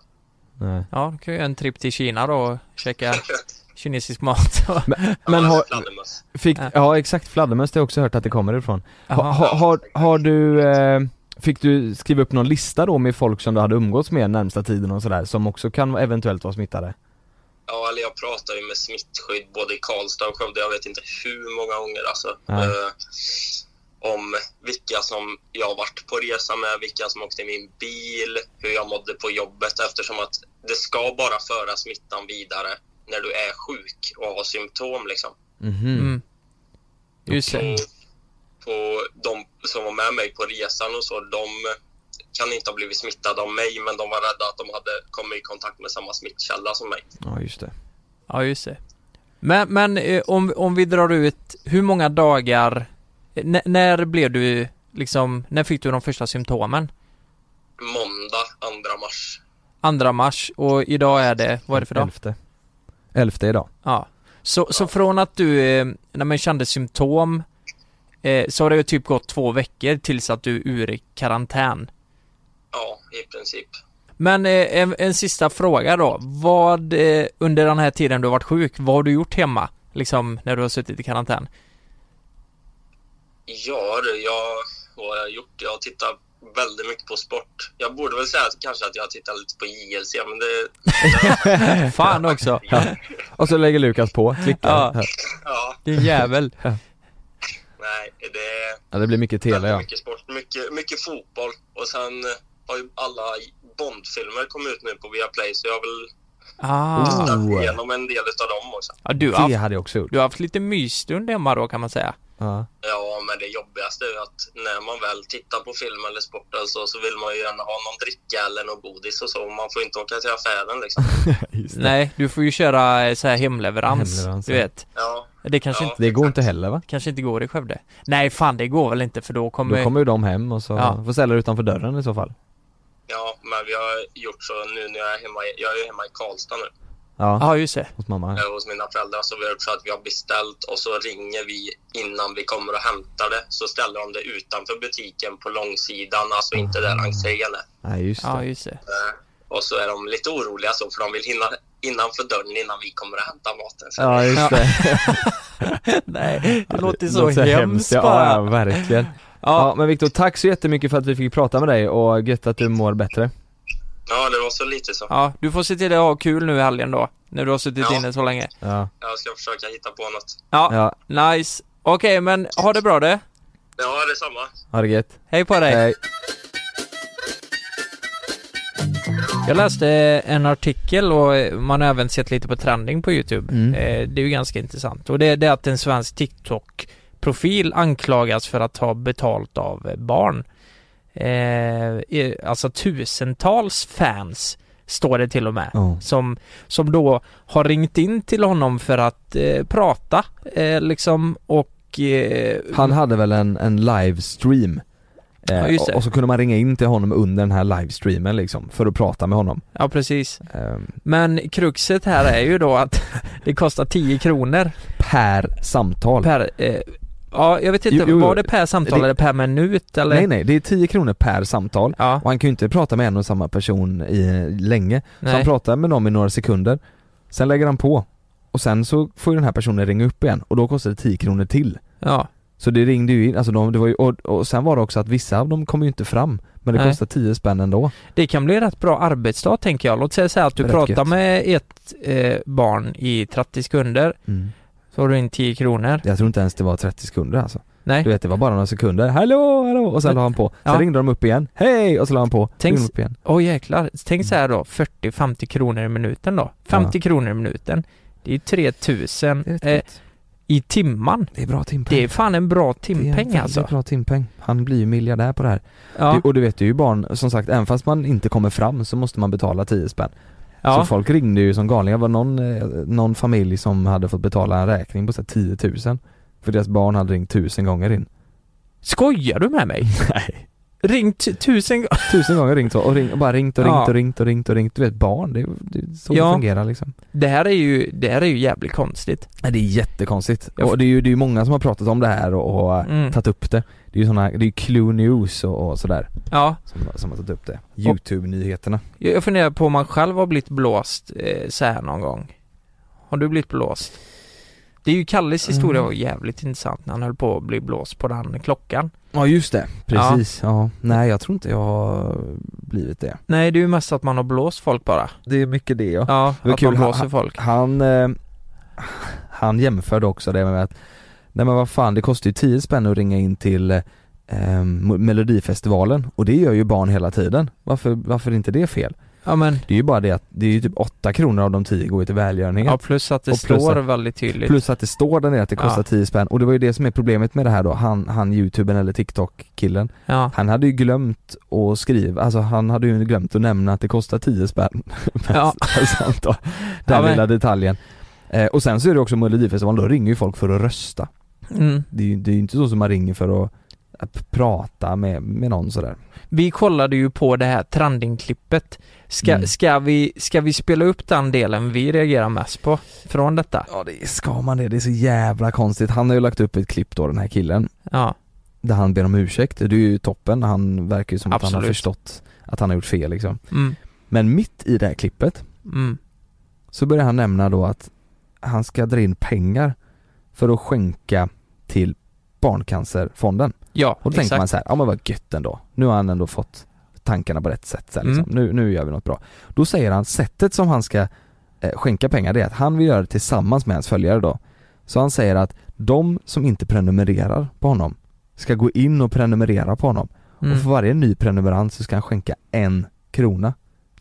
Speaker 5: Nej.
Speaker 6: Ja, då kan jag göra en trip till Kina då och käka kinesisk mat
Speaker 5: Men, men har, fick, ja exakt, fladdermöss det har jag också hört att det kommer ifrån. Ha, ha, har, har du, eh, fick du skriva upp någon lista då med folk som du hade umgåtts med närmsta tiden och sådär som också kan eventuellt vara smittade?
Speaker 4: Ja, eller jag pratar ju med smittskydd både i Karlstad och Skövde. Jag vet inte hur många gånger alltså.
Speaker 5: Nej.
Speaker 4: Eh, om vilka som jag har varit på resa med, vilka som åkte i min bil, hur jag mådde på jobbet eftersom att det ska bara föra smittan vidare när du är sjuk och har symptom liksom.
Speaker 6: Mm. Just det.
Speaker 4: På de som var med mig på resan och så, de kan inte ha blivit smittade av mig men de var rädda att de hade kommit i kontakt med samma smittkälla som mig.
Speaker 5: Ja just det.
Speaker 6: Ja, just det. Men, men eh, om, om vi drar ut, hur många dagar, eh, n- när blev du liksom, när fick du de första symptomen?
Speaker 4: Måndag 2 mars.
Speaker 6: Andra mars och idag är det, vad är det för dag?
Speaker 5: Elfte. Elfte idag.
Speaker 6: Ja. Så, så från att du, eh, när man kände symptom, eh, så har det ju typ gått två veckor tills att du är ur karantän.
Speaker 4: Ja, i princip.
Speaker 6: Men eh, en, en sista fråga då. Vad, eh, under den här tiden du har varit sjuk, vad har du gjort hemma? Liksom när du har suttit i karantän?
Speaker 4: Ja, du, jag vad jag har gjort. Jag tittar väldigt mycket på sport. Jag borde väl säga att, kanske att jag tittar lite på JLC, men det...
Speaker 6: Fan också.
Speaker 5: Och så lägger Lukas på, klickar.
Speaker 6: Ja.
Speaker 4: Ja,
Speaker 6: Din jävel.
Speaker 4: nej, det är
Speaker 5: Ja, det blir mycket tele ja.
Speaker 4: mycket sport, mycket, mycket fotboll. Och sen eh, har ju alla Bondfilmer kommit ut nu på Viaplay, så jag har väl tittat igenom en del utav dem också.
Speaker 6: Ja, du, har
Speaker 5: Ah. Det
Speaker 6: haft,
Speaker 5: Oh, hade jag också gjort.
Speaker 6: du har haft lite mysstund hemma då kan man säga.
Speaker 5: Ja.
Speaker 4: Ja, men det jobbigaste är ju att när man väl tittar på film eller sport eller så, så vill man ju gärna ha någon dricka eller någon godis och så. Man får inte åka till affären liksom.
Speaker 5: Just det.
Speaker 6: Nej, du får ju köra eh, så här hemleverans,
Speaker 5: Hemleverans,
Speaker 6: du
Speaker 5: ja.
Speaker 6: vet.
Speaker 4: Ja,
Speaker 6: Det kanske,
Speaker 4: Ja.
Speaker 6: inte,
Speaker 5: Det går inte heller va?
Speaker 6: kanske inte går i Skövde. Nej, fan det går väl inte för då kommer...
Speaker 5: Då kommer ju de hem och så
Speaker 6: Ja.
Speaker 5: får ställa det utanför dörren i så fall.
Speaker 4: ja, men vi har gjort så nu när jag är hemma. i- Jag är ju hemma i Karlstad nu
Speaker 5: Ja,
Speaker 6: Ja, just det.
Speaker 5: hos mamma.
Speaker 4: eh, hos mina föräldrar, så vi har gjort så att vi har beställt och så ringer vi innan vi kommer och hämtar det. Så ställer de det utanför butiken på långsidan, alltså inte där entrén är.
Speaker 5: Nej, just
Speaker 6: Ja,
Speaker 5: det.
Speaker 6: just det.
Speaker 4: Eh, Och så är de lite oroliga så, för de vill hinna innanför dörren innan vi kommer och hämtar maten. Så
Speaker 5: Ja, just det.
Speaker 6: Nej, det låter så
Speaker 5: låter
Speaker 6: hemskt
Speaker 5: ja,
Speaker 6: bara.
Speaker 5: ja, verkligen. Ja. men Viktor, tack så jättemycket för att vi fick prata med dig och gött att du mår bättre.
Speaker 4: ja, det var så lite så.
Speaker 6: Ja, du får se till att ha kul nu i helgen då. När du har suttit
Speaker 4: Ja.
Speaker 6: inne så länge.
Speaker 5: Ja,
Speaker 4: Jag ska försöka hitta på något.
Speaker 6: Ja,
Speaker 5: ja.
Speaker 6: nice. Okej, men ha det bra du.
Speaker 4: Ja, detsamma.
Speaker 5: ha det gött. Eh,
Speaker 6: Hej på dig.
Speaker 5: Hej.
Speaker 6: Jag läste eh, en artikel och eh, man har även sett lite på trending på Youtube.
Speaker 5: Mm.
Speaker 6: Eh, Det är ju ganska intressant. Och det det är att en svensk TikTok-profil anklagas för att ha betalt av eh, barn. Eh, i- Alltså tusentals fans står det till och med.
Speaker 5: Ja.
Speaker 6: Som, som då har ringt in till honom för att eh, prata eh, liksom och... Eh,
Speaker 5: Han hade väl en, en livestream. Eh,
Speaker 6: Ja, just det.
Speaker 5: och- Och så kunde man ringa in till honom under den här livestreamen liksom, för att prata med honom.
Speaker 6: Ja precis.
Speaker 5: Ehm,
Speaker 6: Men kruxet här är ju då att det kostar 10 kronor
Speaker 5: per samtal.
Speaker 6: per... Eh, ja, jag vet inte,
Speaker 5: Jo, jo,
Speaker 6: var det per samtal
Speaker 5: det-
Speaker 6: eller per minut eller?
Speaker 5: nej nej, det är 10 kronor per samtal.
Speaker 6: Ja,
Speaker 5: Och han kan ju inte prata med en och samma person i, länge. Så han
Speaker 6: nej.
Speaker 5: pratar med dem i några sekunder, sen lägger han på. Och sen så får ju den här personen ringa upp igen och då kostar det 10 kronor till.
Speaker 6: Ja,
Speaker 5: Så det ringde ju in, alltså de, det var ju, och, och sen var det också att vissa av dem kom ju inte fram Men det
Speaker 6: Nej.
Speaker 5: kostar 10 spänn ändå
Speaker 6: det kan bli rätt bra arbetsdag tänker jag. Låt säga så här att du
Speaker 5: Rätt
Speaker 6: pratar
Speaker 5: gött.
Speaker 6: med ett eh, barn i 30 sekunder, så har du in 10 kronor.
Speaker 5: Mm. Jag tror inte ens det var 30 sekunder alltså
Speaker 6: Nej,
Speaker 5: Du vet det var bara några sekunder, hallå, hallå och sen la han på Sen
Speaker 6: Ja.
Speaker 5: ringde de upp igen, hej! Och så la han på,
Speaker 6: Tänk-
Speaker 5: ringde de upp igen
Speaker 6: åh jäklar. Tänk så här då, 40-50 kronor i minuten då. 50 kronor i minuten. Det är 3000
Speaker 5: Det är rätt
Speaker 6: eh,
Speaker 5: gött.
Speaker 6: i timman.
Speaker 5: Det är bra timpeng
Speaker 6: Det är fan en bra timpeng
Speaker 5: det är en
Speaker 6: alltså.
Speaker 5: väldigt bra timpeng. Han blir ju miljardär på det här.
Speaker 6: Ja,
Speaker 5: Du, och du vet, det är ju barn, som sagt, även fast man inte kommer fram så måste man betala 10 spänn. Så
Speaker 6: ja.
Speaker 5: folk ringde ju som galningar. Det var någon, eh, någon familj som hade fått betala en räkning på så här 10 000. För deras barn hade ringt tusen gånger in.
Speaker 6: Skojar du med mig?
Speaker 5: Nej.
Speaker 6: Ringt tusen gånger?
Speaker 5: Tusen gånger ringt och, och, ring, och bara ringt och ringt,
Speaker 6: Ja.
Speaker 5: och ringt och ringt och ringt. Du vet barn, det är, det är så
Speaker 6: Ja.
Speaker 5: det fungerar liksom.
Speaker 6: Det här är ju, det här är ju jävligt konstigt.
Speaker 5: Nej, det är jättekonstigt.
Speaker 6: Jag-
Speaker 5: Och det är ju det är ju många som har pratat om det här och, och eh,
Speaker 6: Mm.
Speaker 5: tagit upp det. Det är ju såna, det är ju Clue News och, och sådär
Speaker 6: Ja,
Speaker 5: som, som har tagit upp det. Youtube-nyheterna.
Speaker 6: jag jag funderar på om man själv har blivit blåst eh, så här någon gång. Har du blivit blåst? Det är ju Kalles historia
Speaker 5: Mm.
Speaker 6: var jävligt intressant när han höll på att bli blåst på den klockan.
Speaker 5: Ja just det. Precis, ja. Nej jag tror inte jag har blivit det.
Speaker 6: Nej, det är ju mest att man har blåst folk bara.
Speaker 5: Det är mycket det ja.
Speaker 6: Ja,
Speaker 5: Det var
Speaker 6: att
Speaker 5: kul.
Speaker 6: man blåser
Speaker 5: Han-
Speaker 6: folk.
Speaker 5: Han, eh, han jämförde också det med att Nej men vad fan, det kostar ju 10 spänn att ringa in till eh, Mo- Melodifestivalen och det gör ju barn hela tiden. Varför, varför är inte det fel?
Speaker 6: Ja men,
Speaker 5: Det är ju bara det att det är ju typ 8 kronor av de 10 går ju till välgörenhet.
Speaker 6: ja plus att det
Speaker 5: Och plus
Speaker 6: står
Speaker 5: att-
Speaker 6: väldigt tydligt.
Speaker 5: Plus att det står där nere att det kostar
Speaker 6: Ja.
Speaker 5: 10 spänn och det var ju det som är problemet med det här då, han, han youtubern eller TikTok-killen.
Speaker 6: Ja,
Speaker 5: Han hade ju glömt att skriva, alltså han hade ju glömt att nämna att det kostar 10 spänn per
Speaker 6: Ja.
Speaker 5: per samtal. Den
Speaker 6: Ja, men-
Speaker 5: lilla detaljen. Eh, och sen så är det också Melodifestivalen, då ringer ju folk för att rösta.
Speaker 6: mm.
Speaker 5: Det är ju det är ju inte så som man ringer för att, att prata med, med någon sådär.
Speaker 6: Vi kollade ju på det här trending-klippet. Ska,
Speaker 5: Mm.
Speaker 6: ska, vi, ska vi spela upp den delen vi reagerar mest på från detta?
Speaker 5: Ja det är, ska man det? Det är så jävla konstigt. Han har ju lagt upp ett klipp då den här killen,
Speaker 6: Ja,
Speaker 5: där han ber om ursäkt. Det är ju toppen, han verkar ju som att han har
Speaker 6: Absolut.
Speaker 5: förstått att han har gjort fel liksom.
Speaker 6: mm,
Speaker 5: Men mitt i det här klippet
Speaker 6: mm.
Speaker 5: så börjar han nämna då att han ska dra in pengar för att skänka till Barncancerfonden.
Speaker 6: Ja,
Speaker 5: Och då tänker
Speaker 6: exakt.
Speaker 5: man så här, ja men vad gött ändå. Nu har han ändå fått tankarna på rätt sätt så här, liksom.
Speaker 6: Mm.
Speaker 5: nu, nu gör vi något bra. Då säger han, sättet som han ska eh, skänka pengar det är att han vill göra det tillsammans med hans följare då. Så han säger att de som inte prenumererar på honom ska gå in och prenumerera på honom.
Speaker 6: Mm.
Speaker 5: Och för varje ny prenumerant så ska han skänka en krona.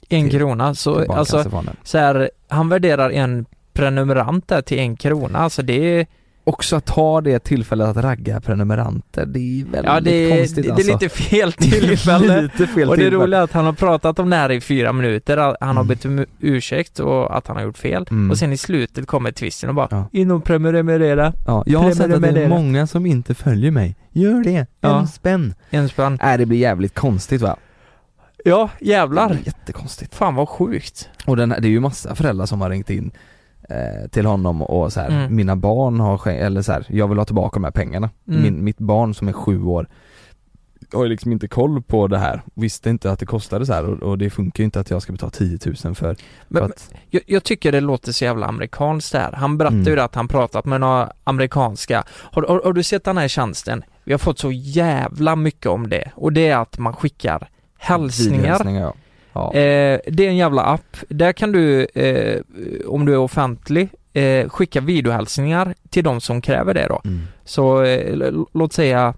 Speaker 6: En
Speaker 5: till-
Speaker 6: krona,
Speaker 5: till
Speaker 6: så alltså
Speaker 5: Barncancerfonden.
Speaker 6: så här, han värderar en prenumerant där till en krona, alltså det är
Speaker 5: Också att ha det tillfället att ragga prenumeranter, det är väldigt
Speaker 6: Ja det är,
Speaker 5: konstigt
Speaker 6: det,
Speaker 5: alltså.
Speaker 6: det är lite fel tillfälle
Speaker 5: lite fel
Speaker 6: Och det
Speaker 5: tillfälle.
Speaker 6: roliga är att han har pratat om det här i fyra minuter, att han har bett om ursäkt och att han har gjort fel
Speaker 5: Mm.
Speaker 6: och sen i slutet kommer twisten och bara
Speaker 5: Ja.
Speaker 6: In och prenumerera
Speaker 5: Ja, jag har sett att det är
Speaker 6: Prenumerera.
Speaker 5: många som inte följer mig. Gör det! En
Speaker 6: Ja.
Speaker 5: spänn!
Speaker 6: En spänn.
Speaker 5: Nej, det blir jävligt konstigt va?
Speaker 6: Ja, jävlar!
Speaker 5: Jättekonstigt.
Speaker 6: Fan vad sjukt.
Speaker 5: Och den, här- det är ju massa föräldrar som har ringt in eh, till honom och så här,
Speaker 6: Mm.
Speaker 5: mina barn har skän- eller så här, jag vill ha tillbaka de här pengarna.
Speaker 6: Mm.
Speaker 5: Min, mitt barn som är sju år har ju liksom inte koll på det här, visste inte att det kostade så här och, och det funkar ju inte att jag ska betala 10 000 för,
Speaker 6: Men-
Speaker 5: för att,
Speaker 6: Jag, jag tycker det låter så jävla amerikanskt där. Han berättade
Speaker 5: Mm.
Speaker 6: ju det att han pratat med några amerikanska. Har, har, har du sett den här tjänsten? Vi har fått så jävla mycket om det och det är att man skickar hälsningar.
Speaker 5: videohälsningar, ja. Ja.
Speaker 6: Eh, det är en jävla app. Där kan du, eh, om du är offentlig, eh, skicka videohälsningar till de som kräver det då.
Speaker 5: Mm.
Speaker 6: Så eh, l- l- låt säga,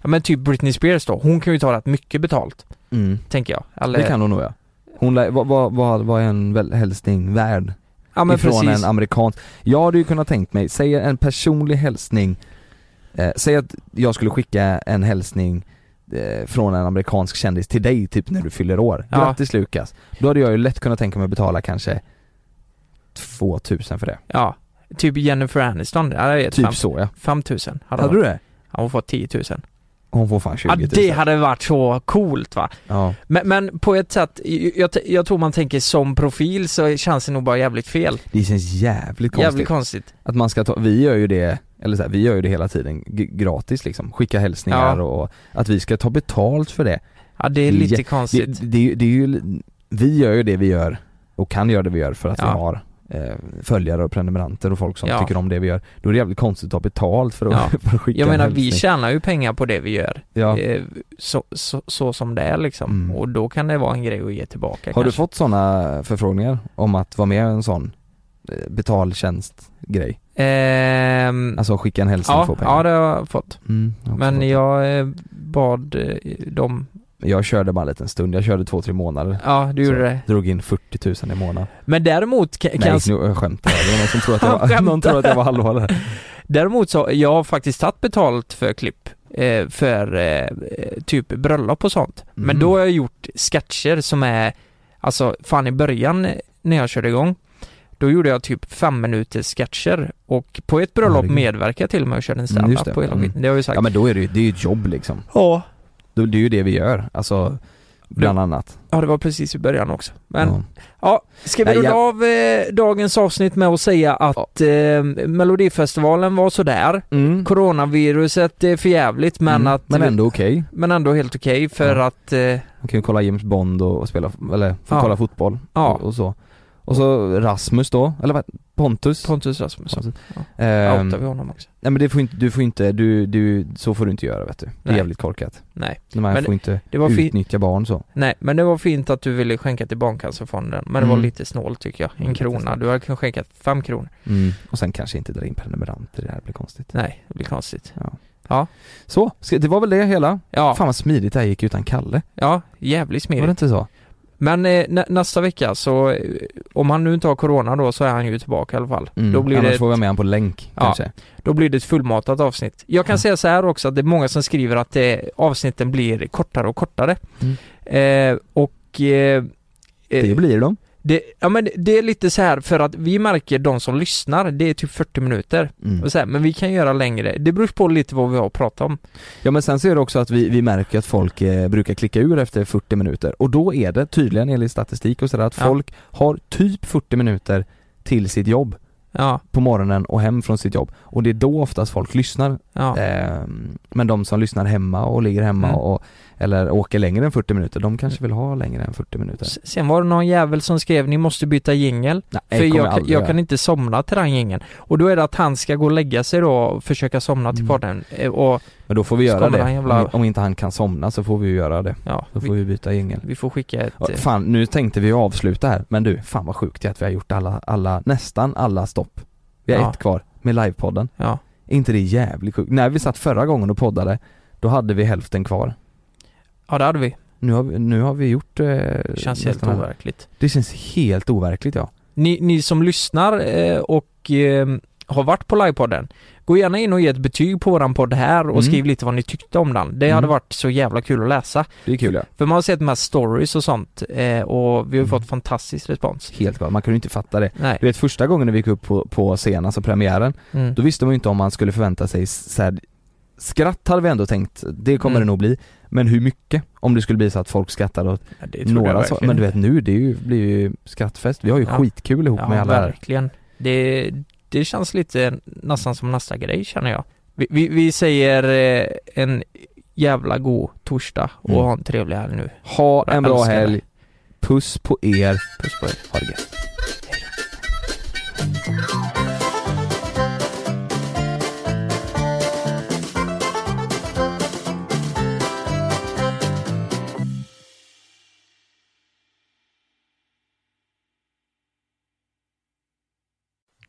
Speaker 6: ja men typ Britney Spears då, hon kan ju ta rätt mycket betalt,
Speaker 5: Mm.
Speaker 6: tänker jag. Eller,
Speaker 5: Det kan hon nog ja. Hon, lär- vad, vad, vad, vad är en väl, hälsning värd?
Speaker 6: ja, men
Speaker 5: ifrån
Speaker 6: precis.
Speaker 5: en amerikan. Jag hade ju kunnat tänkt mig, säg en personlig hälsning, eh, säg att jag skulle skicka en hälsning eh, från en amerikansk kändis till dig typ när du fyller år.
Speaker 6: Ja.
Speaker 5: Grattis Lukas. Då hade jag ju lätt kunnat tänka mig att betala kanske 2000 för det.
Speaker 6: Ja, typ Jennifer Aniston, ja, jag vet,
Speaker 5: Typ
Speaker 6: fem,
Speaker 5: så ja.
Speaker 6: 5 000 hade,
Speaker 5: Hade
Speaker 6: hon.
Speaker 5: du det?
Speaker 6: Ja, hon får 10 000.
Speaker 5: Hon får fan 20
Speaker 6: Ja,
Speaker 5: 000.
Speaker 6: det hade varit så coolt va.
Speaker 5: Ja.
Speaker 6: Men, men på ett sätt, jag, jag, jag tror man tänker som profil så känns det nog bara jävligt fel.
Speaker 5: Det känns jävligt konstigt.
Speaker 6: Jävligt konstigt.
Speaker 5: Att man ska ta, vi gör ju det, eller så här, vi gör ju det hela tiden g- gratis liksom. Skicka hälsningar
Speaker 6: Ja.
Speaker 5: och, och att vi ska ta betalt för det.
Speaker 6: Ja, det är
Speaker 5: Det är
Speaker 6: lite
Speaker 5: jä- Det,
Speaker 6: konstigt.
Speaker 5: det, är ju- det är ju, vi gör ju det vi gör och kan göra det vi gör för att vi
Speaker 6: Ja.
Speaker 5: har eh, följare och prenumeranter och folk som
Speaker 6: Ja.
Speaker 5: tycker om det vi gör. Då är det jävligt konstigt att ha betalt för att,
Speaker 6: Ja.
Speaker 5: för att skicka
Speaker 6: Jag
Speaker 5: en
Speaker 6: menar, vi
Speaker 5: hälsning.
Speaker 6: tjänar ju pengar på det vi gör.
Speaker 5: ja.
Speaker 6: Eh, Så, så, så som det är liksom.
Speaker 5: Mm.
Speaker 6: Och då kan det vara en grej att ge tillbaka
Speaker 5: Har du
Speaker 6: kanske.
Speaker 5: fått sådana förfrågningar om att vara med i en sån eh, betaltjänstgrej?
Speaker 6: Ehm,
Speaker 5: Alltså skicka en hälsning och
Speaker 6: ja,
Speaker 5: få pengar?
Speaker 6: ja, det har jag fått.
Speaker 5: Mm, jag har också
Speaker 6: Men
Speaker 5: fått.
Speaker 6: jag eh, bad eh, dem,
Speaker 5: jag körde bara en liten stund, jag körde två, tre månader.
Speaker 6: ja du gjorde
Speaker 5: Så.
Speaker 6: det.
Speaker 5: Drog in 40 000 i månaden.
Speaker 6: Men däremot kan, kan
Speaker 5: Nej
Speaker 6: jag
Speaker 5: nu jag skämtar jag, det var någon som trodde att
Speaker 6: Han
Speaker 5: jag var, någon
Speaker 6: skämtar.
Speaker 5: trodde att jag var allvarlig här.
Speaker 6: Däremot så, jag har faktiskt tagit betalt för klipp eh, för eh, eh, typ bröllop och sånt. Men
Speaker 5: Mm.
Speaker 6: då har jag gjort sketcher som är, alltså fan i början eh, när jag körde igång, då gjorde jag typ fem minuters sketcher och på ett bröllop
Speaker 5: Herregud.
Speaker 6: medverkade jag till och med och körde en
Speaker 5: Mm,
Speaker 6: standup
Speaker 5: just det.
Speaker 6: på hela
Speaker 5: Mm.
Speaker 6: skiten. Det har jag ju sagt.
Speaker 5: Ja men då är det ju, det är ju ett jobb liksom.
Speaker 6: Ja.
Speaker 5: Det det är ju det vi gör, alltså bland annat.
Speaker 6: ja, det var precis i början också. Men
Speaker 5: Ja.
Speaker 6: Ja, ska vi
Speaker 5: Nej,
Speaker 6: runda
Speaker 5: jag-
Speaker 6: av eh, dagens avsnitt med att säga att eh, Melodifestivalen var sådär. Coronaviruset är för jävligt mm. men
Speaker 5: Mm,
Speaker 6: att...
Speaker 5: men ändå okej.
Speaker 6: men ändå helt okej för
Speaker 5: Ja.
Speaker 6: att... Eh,
Speaker 5: Man kan ju kolla James Bond och, och spela, eller få
Speaker 6: Ja.
Speaker 5: kolla fotboll
Speaker 6: Ja.
Speaker 5: och, och så. Och så Rasmus då, eller vad, Pontus?
Speaker 6: Pontus Rasmusson.
Speaker 5: Pontus.
Speaker 6: Ja.
Speaker 5: Ehm,
Speaker 6: Outar vi honom också?
Speaker 5: nej men det får inte, du får inte, du, du, så får du inte göra vet du. Det är
Speaker 6: Nej.
Speaker 5: jävligt korkat.
Speaker 6: Nej.
Speaker 5: Man
Speaker 6: Men
Speaker 5: får inte
Speaker 6: det var fi-
Speaker 5: utnyttja barn så.
Speaker 6: Nej, men det var fint att du ville skänka till Barncancerfonden. Men det var
Speaker 5: Mm.
Speaker 6: lite snålt tycker jag. En
Speaker 5: Mm, lite
Speaker 6: krona.
Speaker 5: snålt.
Speaker 6: Du hade kunnat skänka fem kronor.
Speaker 5: Mm. Och sen kanske inte dra in prenumeranter, det här blir konstigt.
Speaker 6: Nej, det blir konstigt.
Speaker 5: Så, ska, det var väl det hela.
Speaker 6: Ja,
Speaker 5: Fan vad smidigt det här gick utan Kalle.
Speaker 6: ja jävligt
Speaker 5: Var det
Speaker 6: smidigt.
Speaker 5: inte så?
Speaker 6: Men eh, nä- nästa vecka så, eh, om han nu inte har corona då så är han ju tillbaka i alla fall.
Speaker 5: Mm.
Speaker 6: Då, blir
Speaker 5: Annars
Speaker 6: det,
Speaker 5: får vi ha med han på länk
Speaker 6: Ja.
Speaker 5: kanske.
Speaker 6: då blir det ett fullmatat avsnitt. Jag kan
Speaker 5: Ja.
Speaker 6: säga så här också att det är många som skriver att eh, avsnitten blir kortare och kortare. Eh, och... Eh, eh,
Speaker 5: Mm. Det blir de.
Speaker 6: Det, ja men det är lite så här för att vi märker de som lyssnar, det är typ 40 minuter.
Speaker 5: Mm.
Speaker 6: Och så här, men vi kan göra längre. Det beror på lite vad vi har att prata om.
Speaker 5: Ja men sen så är det också att vi, vi märker att folk eh, brukar klicka ur efter 40 minuter och då är det tydligen enligt statistik och sådär att
Speaker 6: Ja.
Speaker 5: folk har typ 40 minuter till sitt jobb på morgonen och hem från sitt jobb. Och det är då oftast folk lyssnar. Ehm, men de som lyssnar hemma och ligger hemma
Speaker 6: Mm.
Speaker 5: och, eller åker längre än 40 minuter, de kanske vill ha längre än 40 minuter.
Speaker 6: Sen var det någon jävel som skrev ni måste byta jingel. För
Speaker 5: kommer
Speaker 6: jag,
Speaker 5: jag
Speaker 6: kan-
Speaker 5: aldrig
Speaker 6: jag
Speaker 5: göra.
Speaker 6: kan inte somna till den jingeln. Och då är det att han ska gå och lägga sig då och försöka somna
Speaker 5: Mm.
Speaker 6: till podden. Eh, Och
Speaker 5: Men då får vi
Speaker 6: Så
Speaker 5: göra
Speaker 6: kommer
Speaker 5: det.
Speaker 6: han jävla-
Speaker 5: Om, om inte han kan somna så får vi ju göra det.
Speaker 6: Ja,
Speaker 5: då
Speaker 6: vi-
Speaker 5: får vi, byta jingel.
Speaker 6: vi får skicka ett...
Speaker 5: Ja,
Speaker 6: eh,
Speaker 5: Fan, nu tänkte vi avsluta här, men du, fan vad sjukt det är att vi har gjort alla, alla, nästan alla stopp. Vi har
Speaker 6: Ja.
Speaker 5: ett kvar med livepodden.
Speaker 6: Ja.
Speaker 5: Är inte det jävligt sjukt? När vi satt förra gången och poddade, då hade vi hälften kvar.
Speaker 6: Ja det hade vi.
Speaker 5: Nu har vi, nu har vi gjort... Eh,
Speaker 6: Det känns helt
Speaker 5: nästan alla.
Speaker 6: overkligt.
Speaker 5: Det känns helt overkligt ja.
Speaker 6: Ni, ni som lyssnar eh, och eh, har varit på livepodden, gå gärna in och ge ett betyg på våran podd här och
Speaker 5: Mm.
Speaker 6: skriv lite vad ni tyckte om den. Det hade
Speaker 5: Mm.
Speaker 6: varit så jävla kul att läsa.
Speaker 5: Det är kul ja.
Speaker 6: För man har sett de här stories och sånt eh, och
Speaker 5: Mm.
Speaker 6: vi har ju fått fantastisk respons.
Speaker 5: Helt galet, man kunde ju inte fatta det.
Speaker 6: Nej.
Speaker 5: Du vet första gången när vi gick upp på, på scenen, alltså premiären,
Speaker 6: Mm.
Speaker 5: då visste man ju inte om man skulle förvänta sig s- så här, skratt hade vi ändå tänkt, det kommer
Speaker 6: Mm.
Speaker 5: det nog bli, men hur mycket? Om det skulle bli så att folk skrattade åt
Speaker 6: Ja, det tror jag
Speaker 5: några så,
Speaker 6: verkligen
Speaker 5: men du vet
Speaker 6: inte.
Speaker 5: nu, det är ju, blir ju skrattfest, vi har ju
Speaker 6: Ja.
Speaker 5: skitkul ihop
Speaker 6: Ja,
Speaker 5: med alla här.
Speaker 6: verkligen. Det, det känns lite nästan som nästa grej känner jag. Vi, vi, vi säger eh, en jävla god torsdag och
Speaker 5: Mm.
Speaker 6: ha en trevlig helg nu.
Speaker 5: Ha
Speaker 6: Jag
Speaker 5: en bra
Speaker 6: älskar dig.
Speaker 5: helg, puss på er, puss på er, ha det gött.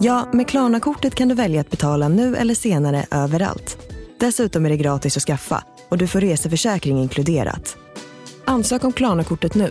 Speaker 1: Ja, med Klarna-kortet kan du välja att betala nu eller senare överallt. Dessutom är det gratis att skaffa och du får reseförsäkring inkluderat. Ansök om Klarna-kortet nu.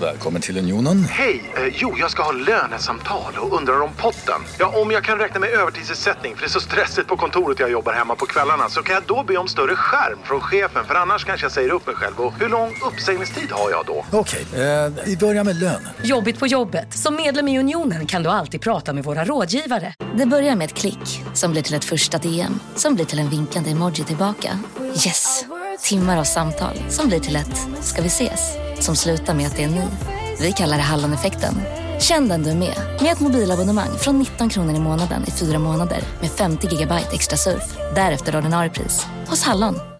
Speaker 10: Välkommen till Unionen.
Speaker 11: Hej! Eh, jo, jag ska ha lönesamtal och undrar om potten. Ja, om jag kan räkna med övertidsersättning för det är så stressigt på kontoret jag jobbar hemma på kvällarna så kan jag då be om större skärm från chefen för annars kanske jag säger upp mig själv. Och hur lång uppsägningstid har jag då?
Speaker 10: Okej, eh, vi börjar med lön.
Speaker 12: Jobbigt på jobbet. Som medlem i Unionen kan du alltid prata med våra rådgivare.
Speaker 13: Det börjar med ett klick som blir till ett första DM som blir till en vinkande emoji tillbaka. Yes! Timmar av samtal som blir till ett “ska vi ses?” som slutar med att det är ni. Vi kallar det Halloneffekten. Känn den du är med, med ett mobilabonnemang från 19 kronor i månaden i fyra månader med 50 gigabyte extra surf. Därefter ordinarie pris, hos Hallon.